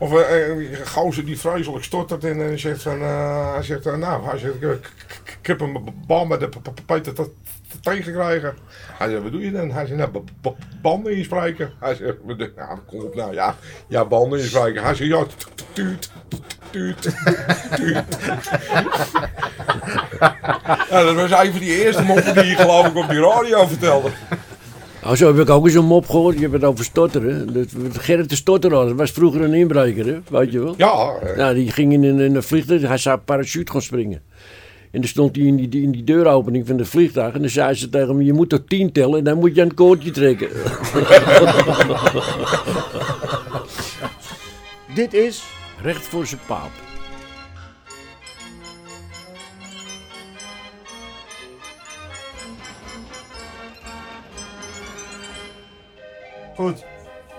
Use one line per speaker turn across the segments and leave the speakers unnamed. Of eh, eh, een gozer die vreselijk stottert en, en zegt van, eh, hij zegt, eh, nou, hij zegt, ik, ik- ik- ik heb een b- bal met de p- p- Peter te- te- tegengekregen. Hij zegt, wat doe je dan? Hij zegt, nou, b- b- banden inspreken. Hij zegt, wat doe- ja, kom op nou, ja, ja, banden inspreken. Hij zegt, ja, t- t- tuut, t- tuut, tuut. Ja, dat was een van die eerste moppen die je geloof ik op die radio vertelde.
Nou, zo heb ik ook eens een mop gehoord. Je hebt het over stotteren. Dat- Gerrit de Stotteraar, dat was vroeger een inbreker, hè? weet je wel.
Ja, eh,
Nou, die ging in een, in een vliegtuig, hij zou parachute gaan springen. En dan stond hij in die, in die deuropening van het vliegtuig. En dan zei ze tegen hem, je moet tot tien tellen en dan moet je aan het koordje trekken.
Dit is
Recht voor zijn paap.
goed.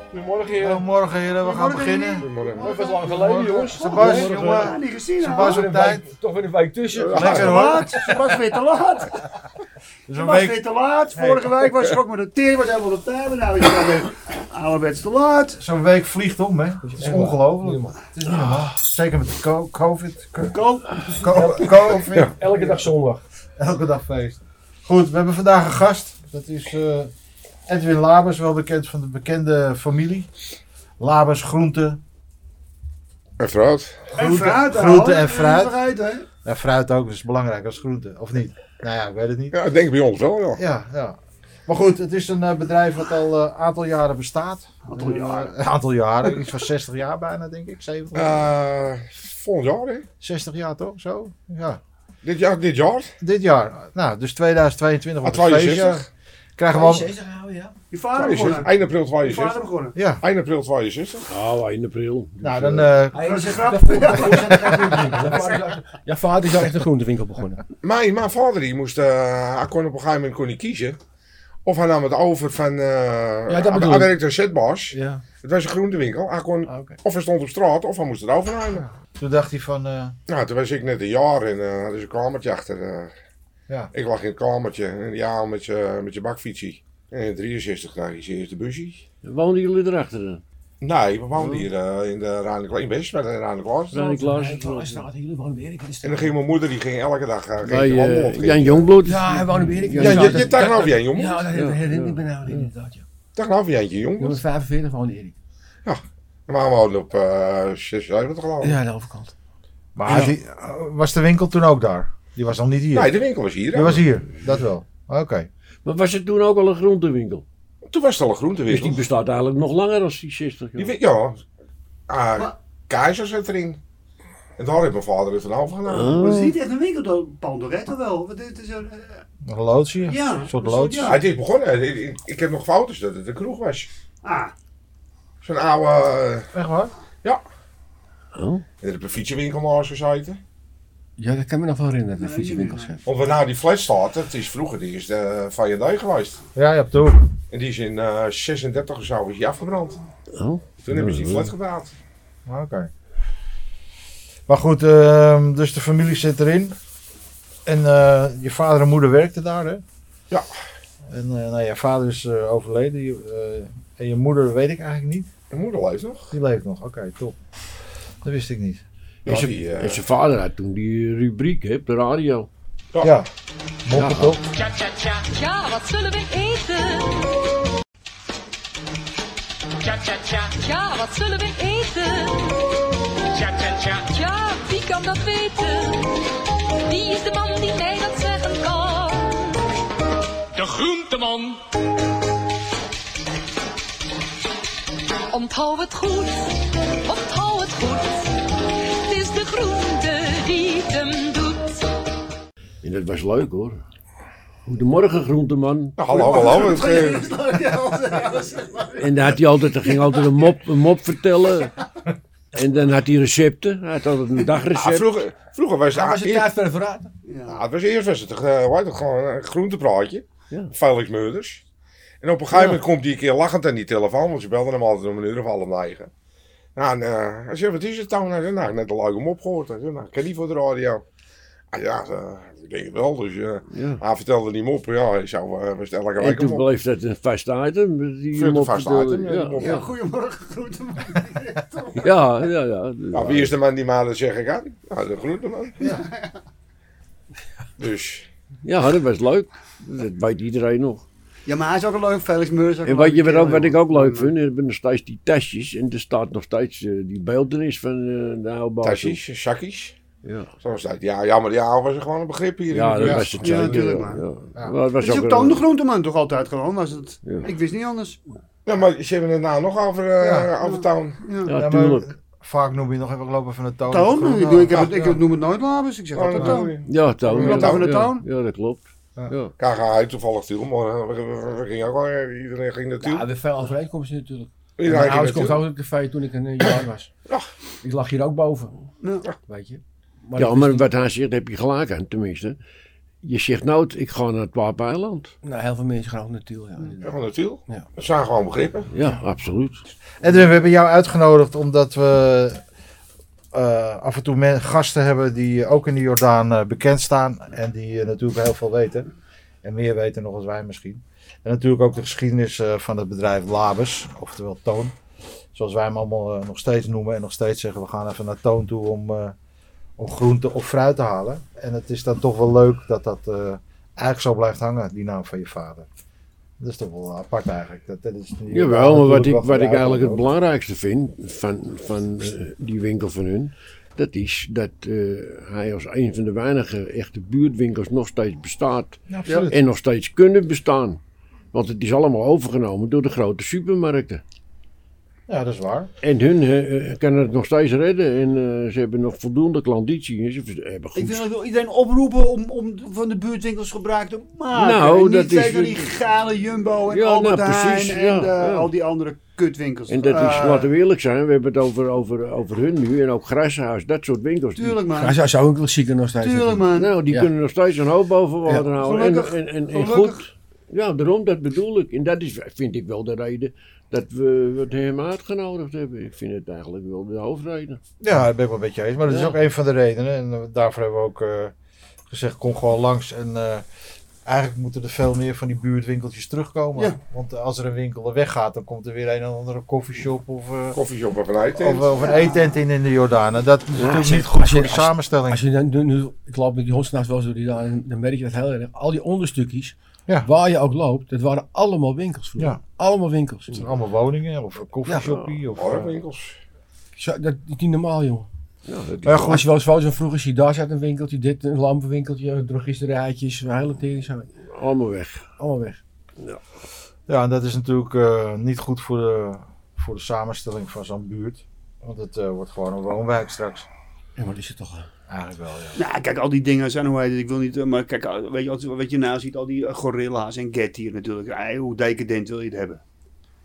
Goedemorgen, heren.
Goedemorgen heren, we gaan beginnen.
goedemorgen.
Dat is lang geleden, jongens.
Sebas,
Goedemorgen.
jongen.
niet gezien,
Sebas op tijd.
Toch weer een week tussen.
Lekker hoor. Het
Ze was weer te laat.
is
Ze
een
was
week.
weer te laat. Vorige week was ik ook met de teer, was helemaal op tijd. Maar nou is het alweer ouderwets te laat.
Zo'n week vliegt om, hè? Het is ongelooflijk. Het is niet normaal. Zeker met co- COVID. Co-
Koop.
co- COVID.
Elke dag zondag.
Elke dag feest. Goed, we hebben vandaag een gast. Dat is eh, Edwin Labers, wel bekend van de bekende familie. Labers Groente.
Uiteraard.
En fruit.
groente en fruit.
hè?
Ja, fruit ook, dat is belangrijk als groente, of niet? Nou ja, ik weet het niet.
Ja, ik denk bij ons wel, ja.
Ja, ja. Maar goed, het is een eh, bedrijf wat al een aantal jaren bestaat.
Aantal jaren.
Eh, Een aantal jaren, iets van 60 jaar bijna, denk ik. 70,
Eh, volgend jaar, hè?
60 jaar toch? Zo? Ja.
Dit jaar? Dit jaar?
Dit jaar, nou, dus 2022
Ah,
op het feestjaar.
62.
Krijgen we al...
62 houden, ja.
Je vader
62.
begonnen.
1 april
Je vader
62.
begonnen.
Ja,
1 april 62.
Nou, 1 april.
nou dan... eh,
Hij
Dat is
is
een
echt
grap.
Ja, vader is al echt een groentewinkel begonnen.
Mijn, mijn vader die moest, eh, hij kon op een gegeven moment kon niet kiezen. Of hij nam het over van, eh, hij-
bedoel
hij
ik.
werkte een zetbars.
Ja.
Het was een groentewinkel. Hij kon,
ah, oké.
of hij stond op straat of hij moest het overnemen.
Ah.
Toen dacht hij van... eh,
Nou, toen was ik net een jaar en eh hadden ze een kamertje achter. eh.
Ja.
Ik lag in het kamertje en ja, met je, met je bakfietsie. En in 63 kreeg je zijn eerste busje.
Woonden jullie erachter dan?
Nee, we woonden hier eh, in de Rijnlijk, in West, bij de Rijnlijk
Zijn ik Klaas?
staat jullie wonen weer.
En dan ging mijn moeder, die ging elke dag eh, ging
Bij
die wandelen.
eh,
of
Jan
ging-
Jongbloed.
Ja, hij woonde weer.
Ja, je, je tegenover jij, jongen.
Ja, dat
Ja,
herinner
ja.
ik me nou inderdaad, ja.
Tegenover jij, jongen.
145 woonde Erik.
Maar we woonden op eh 76 geloof ik.
Ja, aan de overkant.
Maar had die- eh, was de winkel toen ook daar? Die was nog niet hier?
Nee, de winkel was hier. hè.
Die was hier, dat wel. Oké.
Maar was het toen ook al een groentewinkel?
Toen was het al een
Dus
groentewinkel.
die bestaat eigenlijk nog langer dan die 60
Die
jaar.
win- ja, Ah,
Maar-
Keizer zit erin. En daar heeft mijn vader het van overgenomen.
Ah.
Maar het Oh, is niet echt een winkelpand, toch, hè? Toch wel? Want dit is een... eh,
Een loodsje?
Ja,
Een soort
een soort-
loods?
ja.
Ah, het is begonnen. Ik- Ik, ik heb nog foto's dat het een kroeg was.
Ah,
Zo'n oude... eh,
Echt waar?
Oh.
er heb een fietsenwinkel naast gezeten.
Ja, dat kan me nog wel herinneren, de
Nee,
fietsenwinkels.
nee,
Want waar nou die flat staat, dat is vroeger die is de eh, V&D geweest.
Ja, je hebt het ook.
En die is in eh 36 of zo is die afgebrand.
Oh.
Toen hebben ze die flat gebouwd.
Ah, Oké. Maar goed, ehm, dus de familie zit erin. En eh, je vader en moeder werkten daar, hè?
Ja.
En eh, nou, je vader is eh, overleden. Je, eh, en je moeder weet ik eigenlijk niet.
Mijn moeder leeft nog.
Die leeft nog. Oké, top. Dat wist ik niet.
En
Ja,
zijn-
die, eh,
en zijn vader had toen die rubriek hè, op de radio.
Ja.
Ja. Moppen toch?
Ja, wat zullen we eten?
Cha cha cha,
Ja, wat zullen we eten?
cha cha cha,
Ja, wie kan dat weten? Wie is de man die mij dat zeggen kan?
de groenteman.
Onthoud het goed, onthoud het goed. Het is de groente die het hem doet.
En dat was leuk hoor. Goedemorgen groenteman.
Nou, hallo, hallo. Het ging-
En daar had hij altijd, er ging altijd een mop, een mop vertellen. En dan had hij recepten. Hij had altijd een
Ah,
dagrecept.
vroeger, vroeger was het,
Daar was
ah,
het
eer-
tijd voor een verraad.
ah, het was eerst was het, eh, hoe heet het, gewoon een groentepraatje.
Ja.
Felix Meurders. En op een gegeven moment komt hij een keer lachend aan die telefoon, want ze belden hem altijd om een uur of half negen. Nou, en, eh, hij zegt, wat is het dan? Hij zegt, nou, ik heb net een leuke mop gehoord. Hij zegt, nou, ik ken niet voor de radio. Ah, ja, eh, ik denk het wel. Dus, eh,
Ja.
Hij vertelde niet meer op. Ja, hij zou eh, best elke
En
week hem
toen
op.
bleef dat een vast item. Die
Vind het
hem
een
op
vast
de-
item, ja, die
Ja,
mop.
ja.
Goedemorgen, groeten.
ja, ja, ja.
Nou, wie is de man die mij dat zeggen kan? Nou, de groenteman. Ja. Dus,
Ja, dat was leuk. Dat weet iedereen nog.
Ja, maar hij is ook een leuk, Felix Meur is ook
En
een
wat, je
leuke
wat, ook,
kerel,
wat ik
joh.
ook leuk vind, er hebben nog steeds die tasjes. En er staat nog steeds eh, die beeldenis van eh, de oude baas.
tasjes, zakjes.
Ja.
Zoals dat. Ja, jammer, die oude was er gewoon een begrip hier. in
Ja, dat
de buurt.
was het
Ja,
zeker.
natuurlijk,
ja,
maar.
ja.
Ja.
Maar het
Dat
was
is
ook
ook dan
een-
de groenteman toch altijd gewoon? Was het...
Ja.
Ik wist niet anders.
Ja, maar ze hebben het nou nog over, eh
Ja.
over town.
Ja,
Ja, maar
tuurlijk.
Vaak noem je nog even lopen van de toon. eh,
Toon? Ik, bedoel, ik, heb het, ik
Ja.
noem het nooit Labus, ik zeg altijd Toon.
Ja, Toon.
Klopt
ja,
over de
ja.
toon?
Ja, dat klopt.
Ja.
Ja.
Kaga hij toevallig toe, maar eh, we, we- we gingen ook wel, eh, iedereen ging naartoe.
Ja, we hebben veel overeenkomsten natuurlijk.
iedereen
mijn
ging
ouders kochten
naartoe.
ook een café toen ik een eh, jaar was. Ik lag hier ook boven,
Ja.
weet je. ik
ja,
wist
maar
niet-
wat hij zegt, heb je gelijk aan, tenminste. Je zegt nooit, ik ga naar het Paapeiland.
Nou, heel veel mensen gaan ook natuurlijk. Ja,
Ja, gewoon naartoe.
Ja.
Dat zijn gewoon begrippen.
Ja, absoluut.
Edwin, we hebben jou uitgenodigd omdat we eh, af en toe men- gasten hebben die ook in de Jordaan eh, bekend staan. En die eh, natuurlijk heel veel weten. En meer weten nog dan wij misschien. En natuurlijk ook de geschiedenis eh, van het bedrijf Labus, oftewel Toon. Zoals wij hem allemaal eh, nog steeds noemen en nog steeds zeggen we gaan even naar Toon toe om, eh, om groente of fruit te halen. En het is dan toch wel leuk dat dat eh, eigenlijk zo blijft hangen, die naam van je vader. Dat is toch wel apart eigenlijk. Dat, dat is
Jawel, maar wat ik,
natuurlijk wel
wat ik eigenlijk het
ook.
belangrijkste vind van, van eh, die winkel van hun, dat is dat eh, hij als een van de weinige echte buurtwinkels nog steeds bestaat.
Ja, absoluut.
En nog steeds kunnen bestaan. Want het is allemaal overgenomen door de grote supermarkten.
Ja, dat is waar.
En hun eh, eh, kunnen het nog steeds redden. En eh, ze hebben nog voldoende klanditie. En ze vers- hebben
Ik
goed.
wil ook wel iedereen oproepen om, om van de buurtwinkels gebruik te maken.
Nou,
En niet
dat is-
steeds door die gale Jumbo en
Ja, nou,
Albert Heijn
precies,
en
ja,
eh,
ja.
al die andere kutwinkels.
En dat is,
Eh,
laten we eerlijk zijn, we hebben het over, over, over hun nu. En ook Grashuis, dat soort winkels. die-
Tuurlijk
Hij
man,
zou zou ook wel zieker nog steeds.
tuurlijk
natuurlijk.
man.
Nou, die
Ja.
kunnen nog steeds een hoop boven water
Ja.
houden.
Gelukkig,
en, en, en, en
gelukkig.
goed. Ja, daarom, dat bedoel ik. En dat is, vind ik wel de reden dat we wat hem uitgenodigd hebben. Ik vind het eigenlijk wel de hoofdreden.
Ja, daar ben ik wel een beetje eens. Maar dat is
Ja.
ook een van de redenen. En eh, daarvoor hebben we ook eh, gezegd, kom gewoon langs. En eh, eigenlijk moeten er veel meer van die buurtwinkeltjes terugkomen.
Ja.
Want eh, als er een winkel er weggaat, dan komt er weer een of andere koffieshop of, eh,
Koffieshop of een eettent.
of, eh, of een eettent in in de Jordaan. En dat is natuurlijk
als je-
niet goed
als je-
voor de
als je-
samenstelling.
Als je dan, nu, nu- ik loop met die hondsnachts wel eens door die dan, dan merk je dat heel erg. Al die onderstukjes,
Ja.
waar je ook loopt, dat waren allemaal winkels vroeger.
Ja.
Allemaal winkels.
Het zijn allemaal woningen of een koffieshoppie. of, eh,
Horrorwinkels.
Zo, dat is niet normaal, jongen.
Ja, dat Nou, is-
maar
Als
goed,
je wel eens foto's van vroeger ziet, daar zat een winkeltje, dit, een lampenwinkeltje, een drogisterijtjes, een hele tering. zo.
allemaal weg.
Allemaal weg.
ja, en dat is natuurlijk eh, niet goed voor de, voor de samenstelling van zo'n buurt. Want het eh, wordt gewoon een woonwijk straks.
Ja, maar dat is het toch. eh,
Eigenlijk wel, ja.
Nou, kijk, al die dingen zijn hoe heet het, ik wil niet, eh, maar kijk, eh, weet je, als- wat je nou ziet, al die eh, gorilla's en get hier natuurlijk. Ei, hoe decadent wil je het hebben?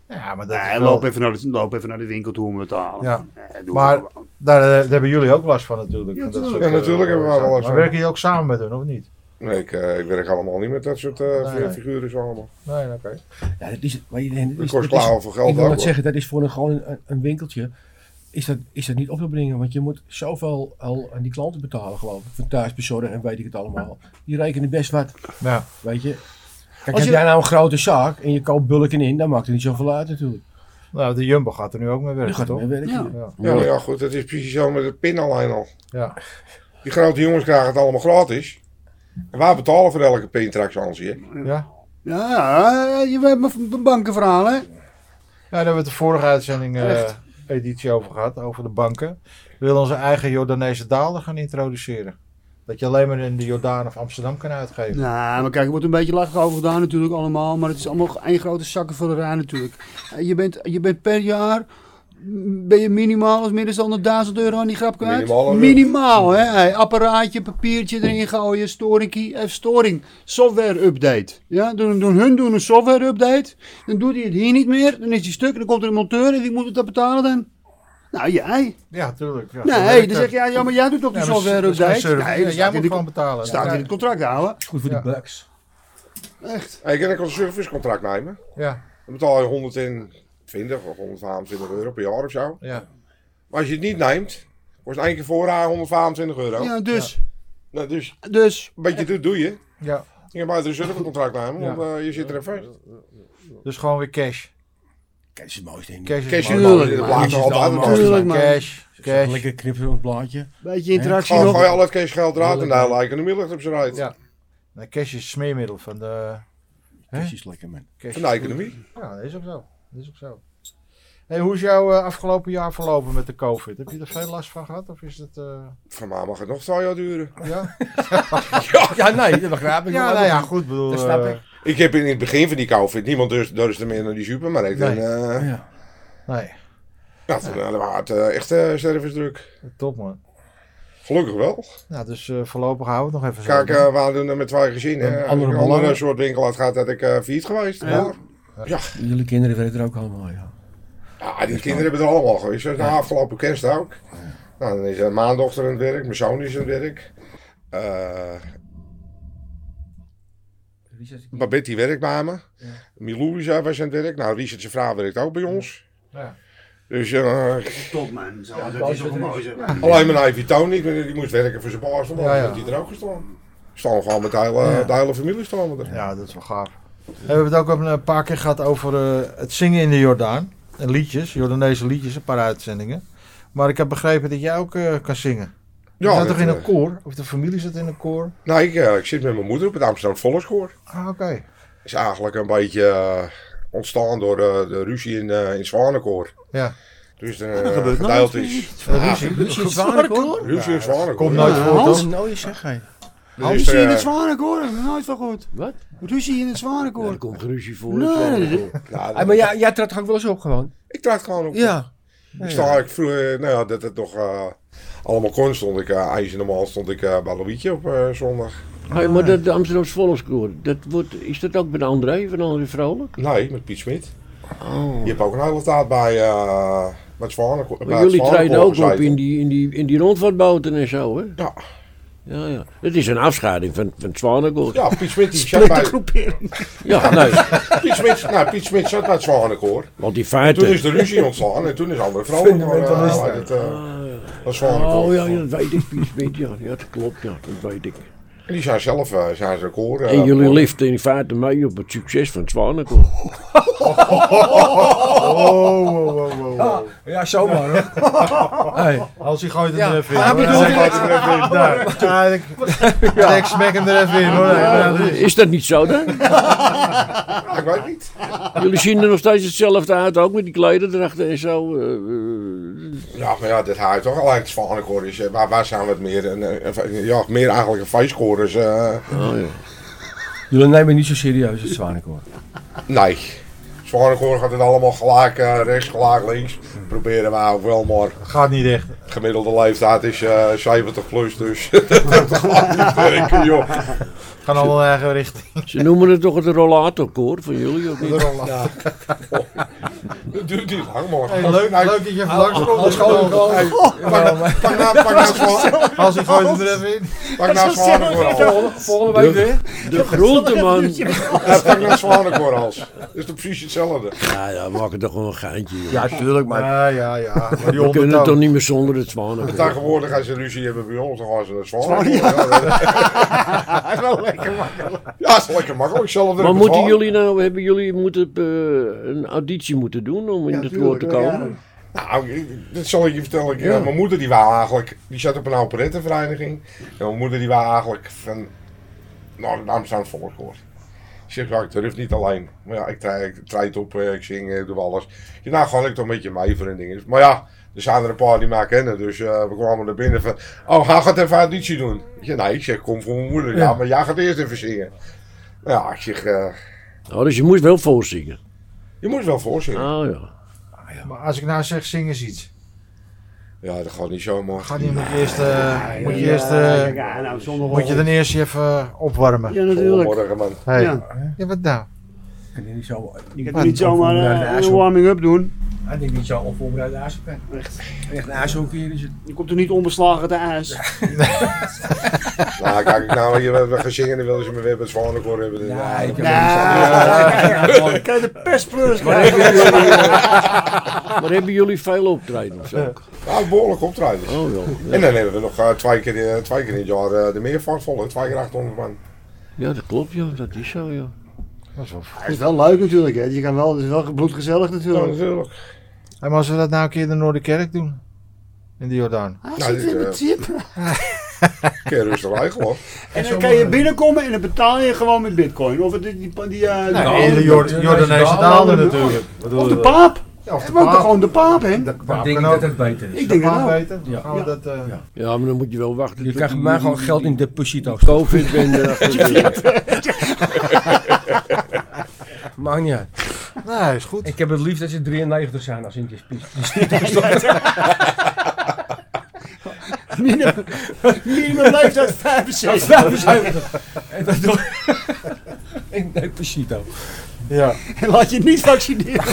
Ja, maar dat is
Nee,
wel-
loop, even naar de, loop even naar de winkel toe om het te halen.
Ja.
Eh, doe
Maar-
het gewoon.
Daar, eh, daar hebben jullie ook last van natuurlijk.
Ja,
Van dat
tuurlijk.
soort,
Ja, natuurlijk
eh,
hebben we daar wel last
Maar
van.
werken jullie ook samen met hun of niet?
Nee, ik, eh, ik werk allemaal niet met dat soort eh,
Nee, nee.
figuren zo allemaal.
Nee, oké.
Ja, dat is, maar je, dat is,
Dat
dat
kost
is-
klaar over geld
ik wil
ook.
net
hoor.
zeggen, dat is voor een, gewoon een, een winkeltje. Is dat, is dat niet op te brengen? Want je moet zoveel al aan die klanten betalen, geloof ik. Van thuisbezorgen en weet ik het allemaal. Die rekenen best wat,
Ja.
weet je.
Als
Kijk, als
je-
jij nou een grote zaak en je koopt bulken in, dan maakt het niet zoveel uit natuurlijk.
Nou, de Jumbo gaat er nu ook mee
Nu
werken,
gaat het
toch?
weer werken.
Ja.
Ja.
Ja, maar ja, goed, dat is precies zo met het pinalijn al.
Ja.
Die grote jongens krijgen het allemaal gratis. En wij betalen voor elke pintractie, hè?
Ja.
Ja, je weet mijn bankenverhaal, hè?
ja, daar hebben we het de vorige uitzending eh,
Echt?
editie over gehad, over de banken. We willen onze eigen Jordaanese dalen gaan introduceren. Dat je alleen maar in de Jordaan of Amsterdam kan uitgeven.
Nou, maar kijk, er wordt een beetje lachig over gedaan natuurlijk allemaal. Maar het is allemaal één grote zakkenvullerij natuurlijk. Eh, Je bent, je bent per jaar... m, Ben je minimaal als minstens 100.000 euro aan die grap kwijt?
Minimaal, hè?
Minimaal, hè? Hey, apparaatje, papiertje erin gooien, storingkie, even storing. Software update. Ja, doen, doen hun doen een software update. Dan doet hij het hier niet meer. Dan is hij stuk en dan komt er een monteur en wie moet het dan betalen dan? Nou, jij.
Ja, tuurlijk. Ja,
Nee,
zo
hey,
werkt
dan
dat.
zeg je, ja, ja, maar jij doet toch die
Ja, maar dat is-
software
dat is geen
update?
service.
Nee, dat
jij
staat in
moet
de-
gewoon betalen.
staat
ja.
in het contract, ouwe.
Goed voor
Ja.
de bucks.
Echt.
Hey, kan ik een servicecontract nemen?
Ja,
Dan betaal je 120 of 125 euro per jaar of zo.
ja.
Maar als je het niet neemt, kost één keer voorraad 125 euro.
Ja, dus.
Nou, dus
Dus
een beetje dit doe je.
Ja.
Je hebt uit de zelf een contract aan, want eh, je zit er even vast.
Dus gewoon weer cash.
Kijk, is het mooiste ding.
Cash is
Kees,
het
je
mooiste.
wil de
Niks
plaatsen
is
altijd.
allemaal.
uit.
Tuurlijk, man.
Cash, cash.
Lekker knippen op het blaadje.
beetje interactie
Gewoon gooi
nog.
Ah, al het cashgeld eruit en daar lijken de middag op zijn uit.
Ja. Nou, cash is smeermiddel van de...
Precies lekker, man.
Cash.
Van de economie.
Ja, dat is ook zo. Dat is ook zo. Hey, hoe is jouw eh, afgelopen jaar verlopen met de COVID? Heb je er veel last van gehad? Of is het... eh,
Voor mij mag het nog twee jaar duren.
ja?
Ja, nee, dat begrijp ik
ja,
wel.
nou ja, goed. Bedoel,
Dat snap
eh,
Ik heb in het begin van die COVID niemand dus, dus er meer naar die supermarkt.
Nee.
En, eh,
Ja.
nee,
nou, toen eh, waren het eh, echt eh servicedruk.
top man.
Gelukkig wel.
Nou, dus eh, voorlopig houden we het nog even zo.
Kijk, eh, we hadden het met twee gezinnen. Als
andere
ik een andere
belangen.
soort winkel had gehad, had ik eh failliet geweest. Ja.
Jullie kinderen weten er ook allemaal, ja.
Ja, die kinderen hebben er allemaal geweest. Dus Na afgelopen kerst ook. Nou, dan is eh, mijn dochter aan het werk, mijn zoon is aan het werk. Eh, Babette die werkt bij me. Milou is, eh, was aan het werk. Nou, Richard zijn vrouw werkt ook bij ons.
Ja.
Dus eh,
Top man, zo, dat is toch mooi zo.
alleen mijn Ivy Tony, die moest werken voor zijn baas. Dan
Ja, ja.
had die er ook gestaan. Staan gewoon met de hele, de hele familie staan we er.
Ja, dat is wel gaaf. We hebben het ook een paar keer gehad over eh, het zingen in de Jordaan. En liedjes, Jordaanese liedjes, een paar uitzendingen. Maar ik heb begrepen dat jij ook eh, kan zingen. Ja, je
Ja,
zat toch in
dat,
een
eh,
koor? Of de familie zat in een koor?
Nou, ik, eh, ik zit met mijn moeder op het Amsterdam Volkskoor.
Ah, oké.
is eigenlijk een beetje eh, ontstaan door eh, de ruzie in, eh in Zwanenkoor.
Ja.
Dus er een gedeelte is. Ja,
Ruzie.
Lucie is zwaar, hoor.
Ruzie in Zwanenkoor.
Komt
ja.
nooit
Dus,
voor, toch?
Nou, zeg hij.
Hans
eh,
zie je in het zwanenkoor, heb ik nooit van gehoord.
Wat?
Ruzie in het zwanenkoor.
Daar komt geruzie voor.
Nee.
Nee.
ja,
Ah, maar jij, jij trad ook wel eens op gewoon.
nou, Ik draai het gewoon op.
Ja.
Ik sta eigenlijk vroeger, nou ja, dat het nog eh, allemaal kon, stond ik, eh ijs in de mal, stond ik eh bij Louietje op eh, zondag.
Hey, maar dat Amsterdamse Volkskoor, dat wordt, is dat ook met André van André Vrolijk?
Nee, met Piet Smit. Je hebt ook een hele tijd bij, eh, bij het Zwanenkoor. bij
Oh. Maar
het
jullie treden
Zwanenkoor
ook op
gezeten.
in die, in, die, in die rondvaartboten en zo, hè?
Ja.
Ja, ja. Het is een afscheiding van, van het Zwanenkoor.
Ja, Piet Smit, die zat bij,
Ja, nee.
Piet Smit, nou, Piet Smit zat bij het Zwanenkoor.
Want die
Toen is
feiten...
de ruzie ontstaan en toen is andere vrouwen maar, eh,
Fundamentalisten.
waar het, eh, dat is gewoon een
Oh
koor.
ja, ja, dat weet ik, Piet Smit, ja. Ja, dat klopt, ja, dat weet ik.
En die zijn zelf eh zijn ze een koor. eh,
En jullie liften in feite mee op het succes van het Zwanenkoor.
Oh, wow, wow, wow, wow.
Ja, zomaar hoor. Hey.
Als hij gooit hem
Ja.
er even in.
Hij
hoor.
bedoelt-
gooit hem er even in. Daar. Ja, ik, ja, Ah, ik smek hem er even in hoor. Ja, dat is-
Eh, Is dat niet zo dan?
ja, ik weet niet.
Jullie zien er nog steeds hetzelfde uit, ook met die klederdrachten en zo. eh, eh,
Ja, maar ja, dit haalt toch alleen het Zwanenkoor is. eh, waar, waar zijn we het meer? Een, een- een- ja, meer eigenlijk een feestkoor is. eh,
oh, ja.
Jullie nemen het niet zo serieus, het zwanenkoor.
nee. Zwanenkoor gaat het allemaal gelijk eh, rechts, gelijk links. Proberen we ook wel, maar
Gaat niet echt.
gemiddelde leeftijd is eh 70 plus, dus dat gaat niet werken, joh.
Gaan allemaal in eigen richting.
Ze noemen het toch het rollatorkoor van jullie ook niet?
Dat duurt niet lang, maar.
Hey, leuk,
Nou,
leuk dat je even langskomt.
hey, pak nou- pak nou- pak nou Zwan-
Als hij gooit hem er even in.
Pak nou Zwanenkoor al.
Volgende week weer?
De groenteman.
Ja, pak nou Zwanenkoor als. Dat is toch precies hetzelfde.
Ja, ja, maak het toch gewoon een geintje, joh.
Ja, tuurlijk, maar.
Ja, ja, ja. Maar die
We kunnen het
honderd
toch
ook.
niet meer zonder het zwanenkoor.
Tegenwoordig als ze ruzie hebben bij ons, dan gaan ze naar Zwanenkoor. Ja,
Dat is wel lekker makkelijk.
Ja, dat is lekker makkelijk. Zelf
Maar moeten jullie nou, hebben jullie moeten, eh, een auditie moeten doen om in het koor te komen?
Nou, ik- dat zal ik je vertellen. Ik, eh, Mijn moeder die wou eigenlijk, die zat op een operettenvereniging. En mijn moeder die wou eigenlijk van, nou, de Amsterdam Volkshoor. Ik zeg, ja, ik durf niet alleen. Maar ja, ik treed, ik treed op, eh, ik zing, ik doe alles. Ik zeg, nou, ga ik toch een beetje mee voor een ding. Maar ja, er zijn er een paar die mij kennen. Dus eh, we kwamen er binnen van, oh, hij gaat even auditie doen. Ik zeg, nee, ik zeg, kom voor mijn moeder. Ja, maar jij gaat eerst even zingen. Nou ja, ik zeg, eh,
Oh, dus je moet wel voorzingen.
je moet wel voorzingen.
Oh ja.
Maar als ik nou zeg, zing eens iets.
Ja, dat gaat niet zomaar.
Gaat niet, moet je eerst, eh, moet je, eerst
Ja,
eh,
Ja, nou, zonder
moet je dan eerst je even opwarmen.
Ja, natuurlijk.
Morgen, man.
Hey.
Ja.
Ja, wat nou?
Ik kan hier niet eh, zo.
Je kunt niet zomaar eh, een warming-up doen.
Hé,
Hij denkt niet zo onvoorbereid aashokken. Echt. Echt een aashokkeer is het.
Je komt er niet onbeslagen te ijs.
Nou, kijk, nou, je we- we gaan zingen, dan willen ze me weer bij het Zwanenkoor hebben. Dus, ja,
ik heb
Dan kan je de perspleurs krijgen.
Maar hebben jullie veel optredens ook?
nou, behoorlijk optreden.
Oh wel. Ja,
En dan hebben we nog eh, twee, keer, eh, twee keer in het jaar eh, de meervaart vol, hè. twee keer 800 man.
Ja, dat klopt joh, dat is zo joh.
Het is wel leuk natuurlijk. Hè. Je kan wel, het is wel bloedgezellig
Ja,
natuurlijk.
natuurlijk.
Hé, maar als we dat nou een keer in de Noorderkerk doen? In de Jordaan.
Hij
Nou,
zit in
dit,
mijn tip.
Kun je rustig regelen hoor.
En dan kan je binnenkomen en dan betaal je gewoon met bitcoin. Of, het- die, die, die, eh,
Nou,
in de Jor-
de
Jordaanese
Jordaanese
dalen
dalen
natuurlijk.
of de paap.
Ja, of
We
eh, de
hebben ook
paap.
gewoon de paap,
De
hè?
Maar
paap
ik denk
kan
dat
ook.
het beter is.
Ik denk
De
dat
paap
wel.
weten.
Ja.
Gaan we dat... eh,
Ja.
Ja, maar dan moet je wel wachten.
Je
tot
krijgt
die-
maar
die-
gewoon
die-
geld in
die
deposito.
Covid ben je erachter.
Maakt niet uit.
Nou, is goed.
Ik heb het liefst dat ze 93 zijn als in die speech.
Minimum, minimum leeftijd 75.
75. En dat doe ik. Nee, Pesito.
Ja.
Laat je niet vaccineren.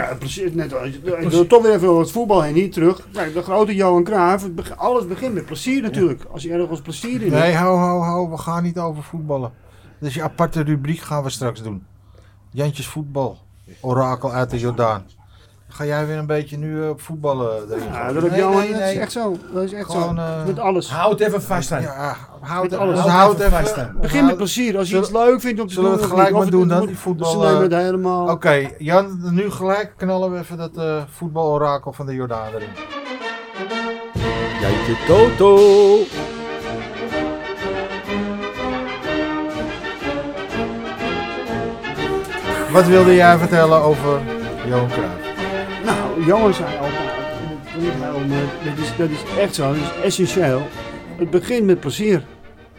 Ja, precies. Net, als- ik wil toch weer even over het voetbal heen, niet terug. Kijk, de grote Johan Cruijff, het beg- alles begint met plezier natuurlijk. Als je ergens plezier in hebt.
Nee, hou, hou, hou. We gaan niet over voetballen. Dus je aparte rubriek gaan we straks doen. Jantjes voetbal. Orakel uit de Jordaan. Ga jij weer een beetje nu eh, op voetballen erin?
Ja,
gooien?
dat heb je
Nee,
allemaal
nee,
dat
nee.
is echt zo. Dat is echt
Gewoon,
zo.
eh,
met alles.
Houd even vast aan.
Ja, eh, houd
Met
het
alles.
alles.
Houd
Houd
even vast
even.
aan.
Begin met plezier. Als je
Nou, Zullen-
iets leuk vindt om te
zullen we
doen.
het
of
gelijk
niet, of
maar doen
het
dan,
moet-
voetbal,
Ze nemen het
eh,
helemaal.
Oké, Jan, nu gelijk knallen we even dat eh voetbalorakel van de Jordaan erin.
Jantje Toto.
Wat wilde jij vertellen over Johan Cruijff?
Nou, Johan zei altijd, en dat vind ik heel mooi, dat is, dat is echt zo, dat is essentieel. Het begint met plezier.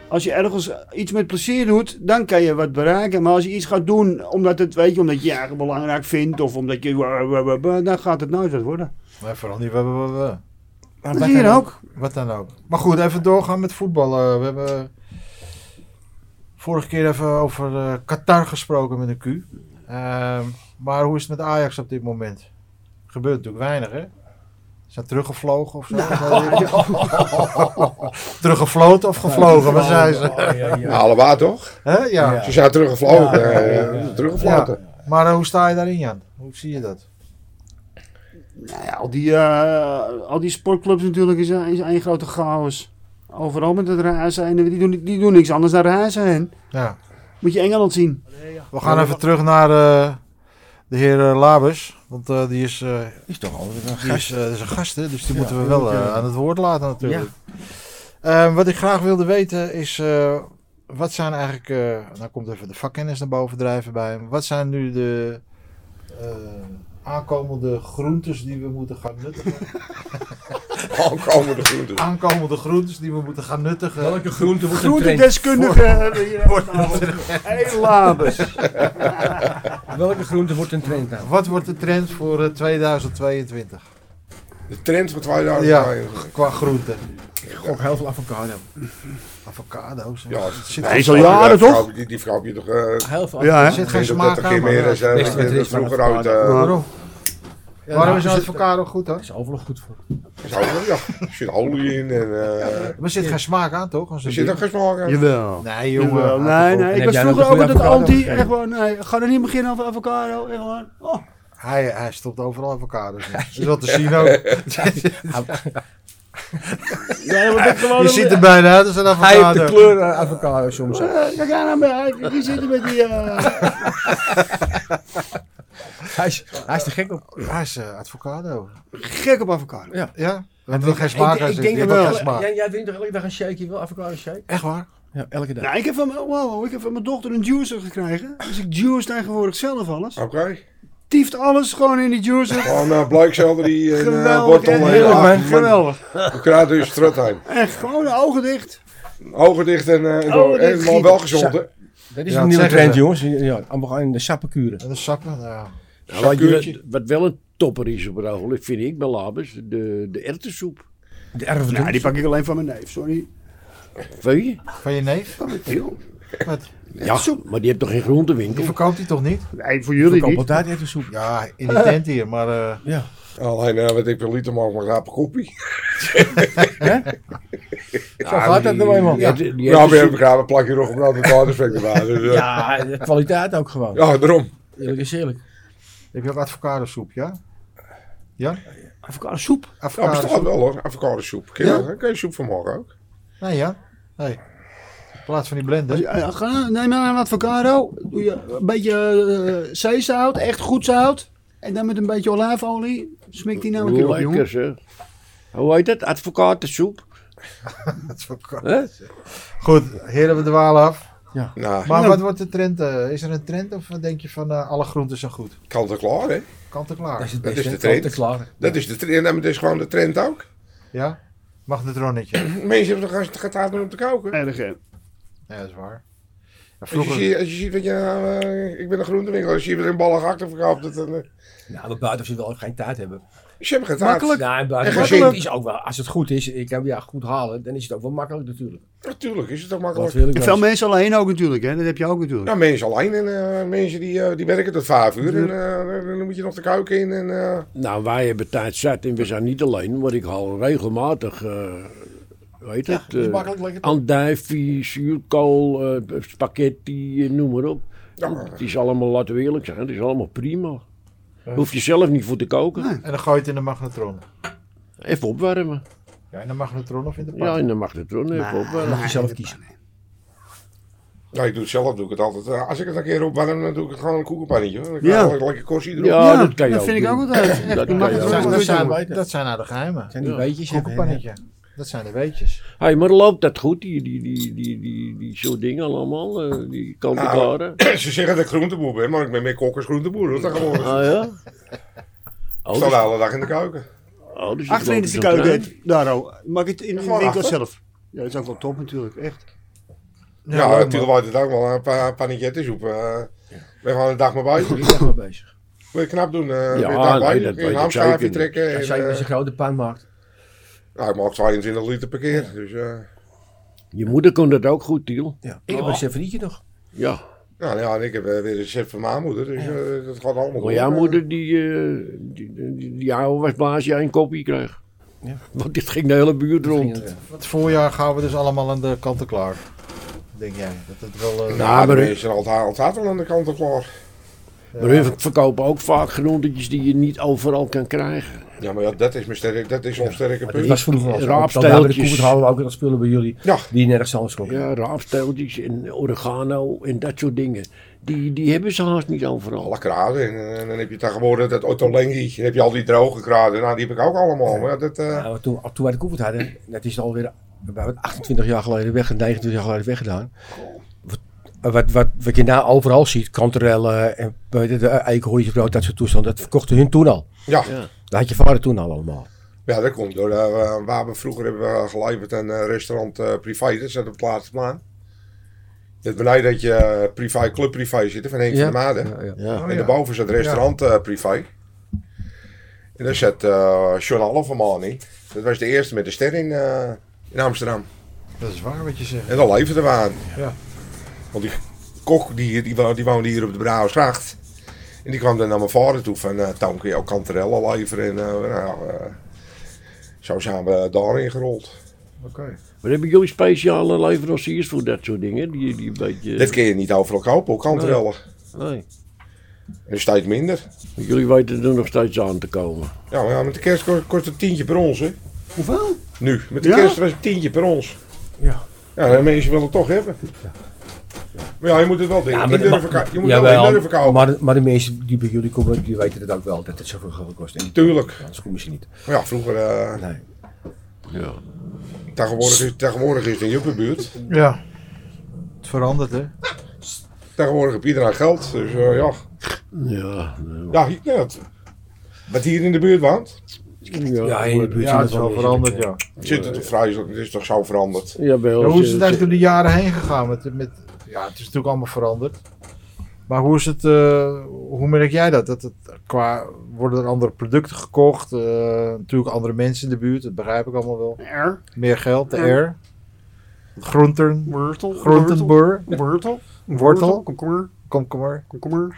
Als je ergens iets met plezier doet, dan kan je wat bereiken. Maar als je iets gaat doen omdat, het, weet je, omdat je je eigen belangrijk vindt of omdat je... wa- wa- wa- wa- dan gaat het nooit wat worden.
Maar vooral niet we- we- we- we.
Maar
Dat
wij
hier
gaan-
ook.
Wat dan ook. Maar goed, even doorgaan met voetballen. Eh, We hebben vorige keer even over eh, Qatar gesproken met een Q. Ehm, maar hoe is het met Ajax op dit moment? Gebeurt natuurlijk weinig, hè? Zijn teruggevlogen of zo? Teruggevloten of gevlogen? Waar zijn ze?
Oh, ja, ja.
Ja, allebei toch?
Hè? Ja.
Ze zijn teruggevlogen. eh, Teruggevlogen.
Maar eh, hoe sta je daarin, Jan? Hoe zie je dat?
Nou ja, al die, eh, al die sportclubs natuurlijk is een, is een grote chaos. Overal met het reizen en die doen, die doen niks anders dan reizen heen.
Ja.
Moet je Engeland zien.
We gaan even terug naar eh, de heer eh, Labus. Want eh, die is, eh,
Is toch altijd een
die is, eh, is een gast, hè, dus die
Ja,
moeten we
die
wel
moet je-
eh, aan het woord laten natuurlijk. Eh, wat ik graag wilde weten is, eh, wat zijn eigenlijk, eh nou komt even de vakkennis naar boven drijven bij hem. Wat zijn nu de eh, aankomende groentes die we moeten gaan nuttigen?
Aankomende groenten.
aankomende groentes die we moeten gaan nuttigen.
Welke groente wordt een trend?
Groentendeskundige hebben we hier aan tafel. Heel labes.
Welke groente wordt een trend nou?
Wat wordt de trend voor eh, 2022
De trend van 2000.
Ja. qua groenten?
Ik gok heel veel avocado.
Avocado's.
Ja,
Het zit
Hij is al jaren
Die
toch?
vrouw- Die, die vrouw heb je toch... eh,
Heel veel
Ja,
Er
hè?
zit geen
20
smaak aan.
keer meer
maar-
als eh,
Beste wat er
dat
is van
vroeger
het
uit...
verhaal.
eh,
Waarom?
Ja,
Waarom is
nou,
het avocado goed hoor?
Er is overal goed voor.
zouden- Ja, er zit olie in en... eh,
Er zit geen smaak aan toch? Als
Er
een
zit
ding.
ook geen smaak aan.
Jawel.
Nee
Jawel.
jongen.
Nee, nee. Ik
heb
was
jij nog
vroeger
een
ook
goede
altijd
avocado
anti.
gegeten?
Echt gewoon, nee. Ga er niet beginnen over avocado. Echt gewoon. Oh.
Hij, hij stopt overal avocado's in. Dat is wat te zien ook.
Ja, maar dat gewoon
Je ziet er bijna uit als een
Hij heeft de
avocado.
kleur eh, avocado soms.
Eh, Kijk aan hem. Hij die zit er met die... eh,
Hij is, hij is te gek op.
Hij is eh, avocado.
Gek op avocado.
Ja.
Ja? Want er geen smaak aan zit. Je hebt ook geen
wel.
smaak.
Jij, jij drinkt toch elke dag een shake? Je wil avocado shake?
Echt waar?
Ja, elke dag.
Nou, ik heb, van, mijn- wow, ik heb van mijn dochter een juicer gekregen. Dus ik juice tegenwoordig zelf alles.
Oké.
Tieft alles gewoon in die juicer.
Gewoon uh, blijkselderie en uh,
Geweldig.
wortel
en
en
heerlijk,
ja,
man. Geweldig.
we krijgen dus strot heen.
Echt gewoon de ogen dicht.
Ogen dicht en, eh
Ogen
door, en
dicht
maar wel
gieten.
gezond hè.
Dat is
Ja, dat
een nieuwe
zeggen
trend,
ze.
jongens. Ja, allemaal gaan in de sappenkuren.
En de sappen? Nou,
Ja, wat, je,
Sakuurtje.
wat wel een topper is op het ogenblik, vind ik bij Labus, de, de erwtensoep.
De erfdom.
Nou, die pak ik alleen van mijn neef, sorry.
Weet je?
van je neef?
Van mijn neef.
Wat?
Ja, maar die hebt toch geen groentewinkel?
Die verkoopt hij toch niet?
Nee, voor jullie
Verkoop
niet.
altijd even soep.
Ja, in die tent hier, maar... eh,
Ja.
Alleen, eh, weet ik wel, liet hem al maar rapen koppie.
Zo gaat dat nou eenmaal.
Ja,
Ja,
die- die
Nou,
heeft
we
een
hebben gaan, we plakken nog een brood met waterspek erbij. Dus, eh, ja.
de kwaliteit ook gewoon.
daarom.
Eerlijk is eerlijk.
Heb je ook advocadosoep, ja?
Avocado soep.
Ja, bestaat
Advocadosoep?
wel hoor, avocado soep. Kun je,
Ja?
kun je soep van maken ook?
Nee, ja. Nee. In plaats van die blender.
Ja, ja, eh, ga- Neem maar een avocado. Doe je een beetje eh, zeezout, echt goed zout. En dan met een beetje olijfolie. Smikt die nou een keer op,
Lekker
jongen.
zeg. Hoe heet dat? Advocatensoep?
Advocaat.
Hè?
Goed, heren, we dwalen af.
Nou,
Maar wat wordt de trend? eh, is er een trend of denk je van eh, alle groenten zijn goed?
kant en klaar hè.
Kant en
Dat is
klaar.
het
Dat
beste.
is de trend.
Kant en klaar.
Dat is de trend, en het is gewoon de trend ook.
Ja? Magnetronnetje.
Mensen hebben toch gaat hard om te koken.
Erg, hè?
Ja, dat is waar. Ja,
Als je,
vroeger,
ziet- als je ziet wat je, eh, ik ben een groentewinkel, als je weer een ballen gehakt verkoopt, dat, dan, eh,
Nou, maar buiten ze wel geen tijd hebben.
ze hebben geen taart.
Nou, en
En
buiten
gezin.
makkelijk is ook wel. Als het goed is, ik heb ja goed halen, dan is het ook wel makkelijk natuurlijk.
Natuurlijk is het toch
Wat
makkelijk.
wil ik
En
wel
veel
eens.
mensen alleen ook natuurlijk, hè? Dat heb je ook natuurlijk.
Nou, mensen alleen en eh, mensen die, eh, die werken tot vijf uur en eh, dan moet je nog de kuiken in. En, eh,
Nou, wij hebben tijd zat en we zijn niet alleen, maar ik haal regelmatig, eh weet
Ja,
het,
is
eh,
makkelijk lekker. toch?
andijvie, zuurkool, eh, spaghetti, eh, noem maar op.
Ja.
Het is allemaal, laten we eerlijk zijn, het is allemaal prima. Hoef je zelf niet voor te koken.
en dan gooi je het in de magnetron.
Even opwarmen.
Ja, in de magnetron of in de pan?
Ja, en dan mag het wel. Even opwarmen.
Mag je zelf kiezen.
nou, ik doe het zelf, doe ik het altijd. Eh, als ik het een keer opwarm, dan doe ik het gewoon een koekenpannetje. hoor. Dan
Ja.
krijg ik lekker korsie erop.
Ja, Oh, dat kan je
dat
ook
vind ik
doen.
ook altijd. Echt,
Dat
dan
kan
mag
je
het
ook
wel
doen.
goed
zijn
doen.
wij-
dat zijn nou de geheimen.
Zijn die weetjes?
Koekenpannetje. Dat zijn de weetjes.
Hey, maar loopt dat goed, die, die, die, die, die, die soort dingen allemaal? eh, die kant en
Nou,
klaren?
Ze zeggen dat ik groenteboer ben, maar ik ben meer kok als groenteboer. hoor. Dat gewoon. Ik
Ah ja? Oh,
sta de
dus-
hele dag in de keuken.
oh, dus ik
Achterin
loop
is de
dus een trein.
keuken, Daro. Maak het in de
Gewoon
winkel
achter.
zelf. Ja, dat is ook wel top natuurlijk, echt.
Ja, natuurlijk wordt het ook wel een paar panetjettensoep. eh. Ik ben gewoon een dag maar buiten.
Ik ben echt mee bezig.
Wil je knap doen? eh, weer
nee,
een dag buiten.
dat
In
weet
een
ik
hamsterhaafje
zeker.
trekken.
Ja,
en,
zeker
eh,
als je een grote pan maakt.
nou, ik maak 22 liter per keer. Dus eh,
Je moeder kon dat ook goed, Tiel.
Ja. Ik heb een severietje nog.
Ja.
nou, ja, en ik heb eh, weer een chef van mijn moeder. Dus eh, dat gaat allemaal
Maar
goed.
jouw moeder, die, eh, die, die, die, die oude was blaas jij een kopje kreeg.
Ja.
Want dit ging de hele buurt
Ging
rond.
het, eh,
Het voorjaar gaan we dus allemaal aan de kanten klaar. Denk jij? Dat het wel... eh,
Nou,
maar
maar
ik-
is er altijd, altijd al aan de kant al klaar.
Maar hun verkopen ook vaak groentetjes die je niet overal kan krijgen.
Ja, maar ja, dat is, mijn sterk, dat is ons sterke
Maar dat
punt.
was vroeger al zo.
Raapsteeltjes.
Op de koepert houden we ook dat spullen bij jullie.
Ja.
Die nergens anders komen.
Ja, raapsteeltjes en oregano en dat soort dingen. Die, die hebben ze haast niet overal.
Alle kraden. En, eh, dan heb je tegenwoordig dat Ottolenghi. Dan heb je al die droge kraden. Nou, die heb ik ook allemaal. Maar ja, dat, eh,
Ja, Nou, maar toen, toen wij de koepert hadden, dat is alweer we hebben het 28 jaar geleden weg, 29 jaar geleden weggedaan. Wat, wat, wat, wat je nou overal ziet, kanterellen en weet je, de eikenhoortjesbrood, dat soort toestanden, dat verkochten hun toen al.
ja.
Ja.
Dat had je vader toen al allemaal.
Ja, dat komt door. eh, waar we vroeger hebben we geleverd een eh, restaurant eh, privé, dat zat op het laatste maan. Dat beneden dat je eh, privé, club privé zitten van een
Ja.
van de maanden.
Ja, ja.
ja.
En daarboven zat restaurant eh, privé. En daar zat eh John Alleman in. Dat was de eerste met de ster in, eh, in Amsterdam.
Dat is waar wat je zegt.
En dat leverden we aan.
Ja.
Want die kok die, die, wo- die woonde hier op de Brouwersgracht. En die kwam dan naar mijn vader toe van, eh Toon kun je ook kanterellen leveren. En eh, nou, eh, zo zijn we daarin gerold.
Oké.
Maar hebben jullie speciale leveranciers voor dat soort dingen? Die, die een beetje...
Dit kun je niet overal kopen, ook kanterellen.
Nee.
Dat is steeds minder.
Jullie weten er nog steeds aan te komen.
Ja, maar ja, met de kerst ko- kost het tientje per ons, hè.
Hoeveel?
Nu, met de
Ja?
kerst was het tientje per ons.
Ja.
Ja, de mensen willen het toch hebben. Maar ja, je moet het wel denken. niet durven ka- je moet het wel
jawel,
niet durven kopen.
maar, de- maar de mensen die bij jullie komen, die weten dat ook wel, dat het zoveel geld kost. En die-
Tuurlijk.
Anders komen ze niet.
Maar ja, vroeger... eh,
Nee.
Ja.
tegenwoordig, is, tegenwoordig is het in Juppenbuurt.
Ja. Het verandert, hè?
Tegenwoordig heb iedereen geld. Dus eh, ja,
Ja,
ja ik net. Wat hier in de buurt woont,
ja,
Ja, in de buurt
Ja, het is wel veranderd, ja.
zit het toch vreselijk. Het is toch zo veranderd.
Jawel,
Ja, hoe is
ze-
het eigenlijk door de jaren heen gegaan? Met, met, ja, het is natuurlijk allemaal veranderd. Maar hoe is het, eh, hoe merk jij dat? dat het, qua, worden er andere producten gekocht? Eh, natuurlijk andere mensen in de buurt, dat begrijp ik allemaal wel.
Er.
Meer geld, de
Ja.
air. Groenten.
Wortel.
Groentenboer.
Wortel.
Wortel.
Komkommer.
Komkommer.
Komkommer.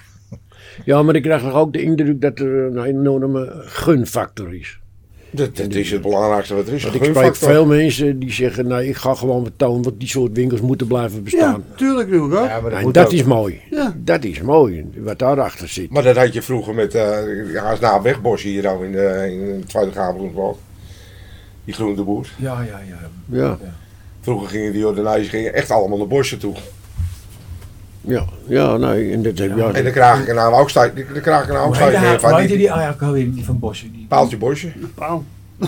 Ja, maar ik krijg nog ook de indruk dat er een enorme gunfactor is.
Dat, dat is het belangrijkste wat er is.
Want ik
Gunfactor.
spreek veel mensen die zeggen, nou ik ga gewoon betonen, want die soort winkels moeten blijven
Ja,
bestaan.
tuurlijk doe ik ook.
Ja, maar dat
en
moet
dat
ook.
is mooi.
Ja.
Dat is mooi, wat daarachter zit.
Maar dat had je vroeger met, eh ja, als na Wegbos hier nou in, de, in het Tweede Gabrielswald. Die groenteboer.
Ja, ja, ja.
Ja,
Vroeger gingen die ordinaties gingen echt allemaal naar bossen toe.
ja, ja, nee, en dat heb je...
En dan kraag ik er nou ook steeds, dan kraag ik er nou ook
Hoe heette
steeds
hij-
meer
hoe
van.
heette
Die,
die eigenlijk alweer, die van Bosje? Die,
paaltje bosje.
Paal.